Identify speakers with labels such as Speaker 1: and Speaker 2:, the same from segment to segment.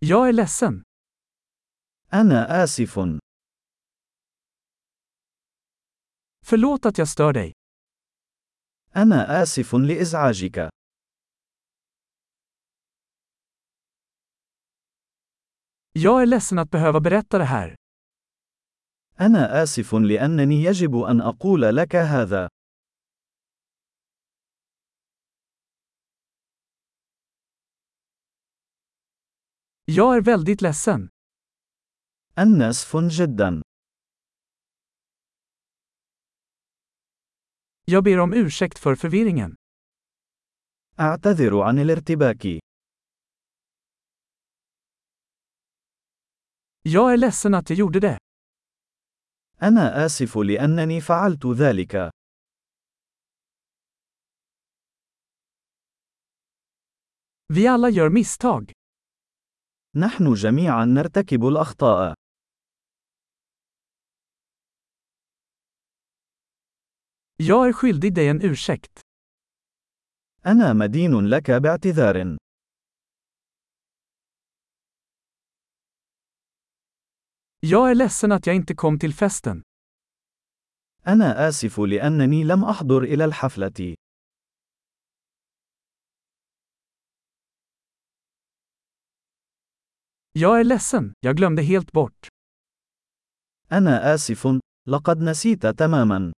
Speaker 1: Jag är ledsen.
Speaker 2: أنا آسف.
Speaker 1: Förlåt att jag stör dig.
Speaker 2: أنا آسف لإزعاجك.
Speaker 1: Jag är ledsen att behöva berätta det här.
Speaker 2: أنا آسف لأنني يجب أن أقول لك هذا.
Speaker 1: Jag är väldigt ledsen.
Speaker 2: أنا آسف جدا.
Speaker 1: Jag ber om ursäkt för förvirringen.
Speaker 2: أعتذر عن الارتباك.
Speaker 1: Jag är ledsen att jag gjorde det.
Speaker 2: أنا آسف لأنني فعلت ذلك.
Speaker 1: Vi alla gör misstag.
Speaker 2: نحن جميعا نرتكب الأخطاء.
Speaker 1: Jag är skyldig dig en ursäkt.
Speaker 2: أنا مدين لك باعتذار.
Speaker 1: Jag är ledsen att jag inte kom till festen.
Speaker 2: أنا آسف لأنني لم أحضر إلى الحفلة.
Speaker 1: Jag är ledsen, jag glömde helt bort.
Speaker 2: أنا آسف. لقد نسيت تماما.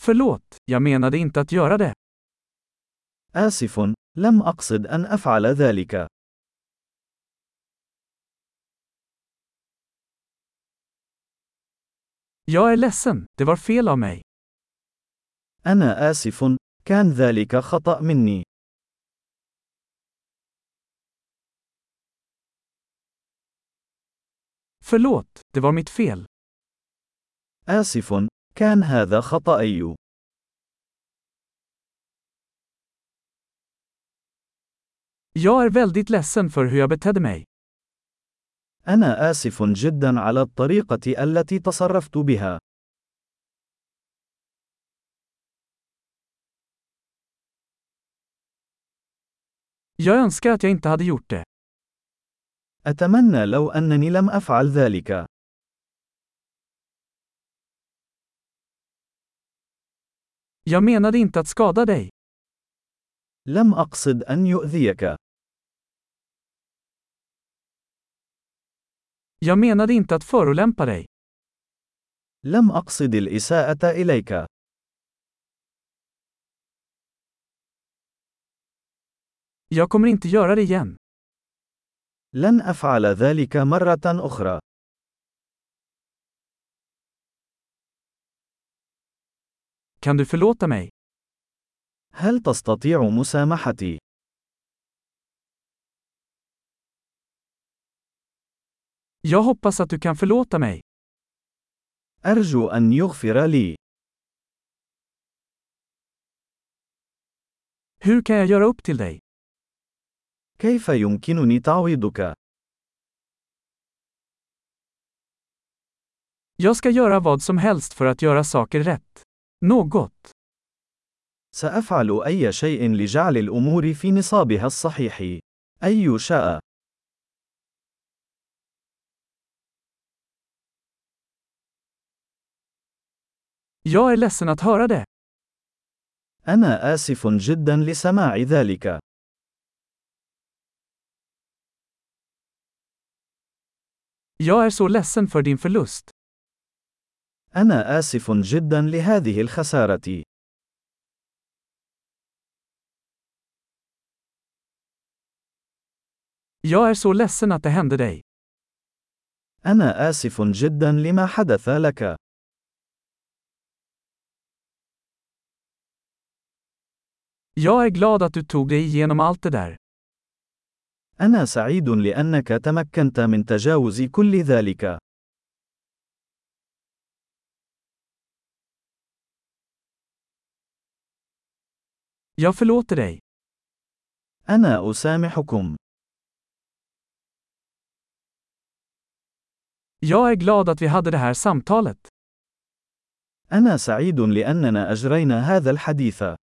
Speaker 1: Förlåt, jag menade inte att göra det.
Speaker 2: آسف. لم أقصد أن أفعل ذلك.
Speaker 1: Jag är ledsen, det var fel av mig.
Speaker 2: أنا آسف. كان ذلك خطأ مني.
Speaker 1: Förlåt, det var mitt fel.
Speaker 2: آسف. كان هذا خطأي.
Speaker 1: Jag är väldigt ledsen för hur jag betedde mig.
Speaker 2: أنا آسف جدا على الطريقة التي تصرفت بها.
Speaker 1: Jag önskar att jag inte hade gjort det.
Speaker 2: أتمنى لو أنني لم أفعل ذلك.
Speaker 1: Jag menade inte att skada dig.
Speaker 2: لم أقصد أن يؤذيك.
Speaker 1: Jag menade inte att förolämpa dig.
Speaker 2: لم أقصد الإساءة إليك.
Speaker 1: Jag kommer inte göra det igen.
Speaker 2: لن أفعل ذلك مرة أخرى.
Speaker 1: Kan du förlåta mig?
Speaker 2: هل تستطيع مسامحتي؟
Speaker 1: Jag hoppas att du kan förlåta mig.
Speaker 2: أرجو أن يغفر لي.
Speaker 1: Hur kan jag göra upp till dig?
Speaker 2: كيف يمكنني تعويضك؟
Speaker 1: Jag ska göra vad som helst för att göra saker rätt. Något.
Speaker 2: سأفعل أي شيء لجعل الأمور في نصابها الصحيح. أي شاء.
Speaker 1: Jag är ledsen att höra det.
Speaker 2: أنا آسف جدا لسماع ذلك.
Speaker 1: Jag är så ledsen för din förlust.
Speaker 2: أنا آسف جدا لهذه الخسارة.
Speaker 1: Jag är så ledsen att det hände dig.
Speaker 2: أنا آسف جدا لما حدث لك.
Speaker 1: Jag är glad att du tog dig igenom allt det där.
Speaker 2: أنا سعيد لأنك تمكنت من تجاوز كل ذلك.
Speaker 1: Jag förlåter dig.
Speaker 2: أنا أسامحكم.
Speaker 1: Jag är glad att vi hade det här samtalet.
Speaker 2: أنا سعيد لأننا أجرينا هذا الحديث.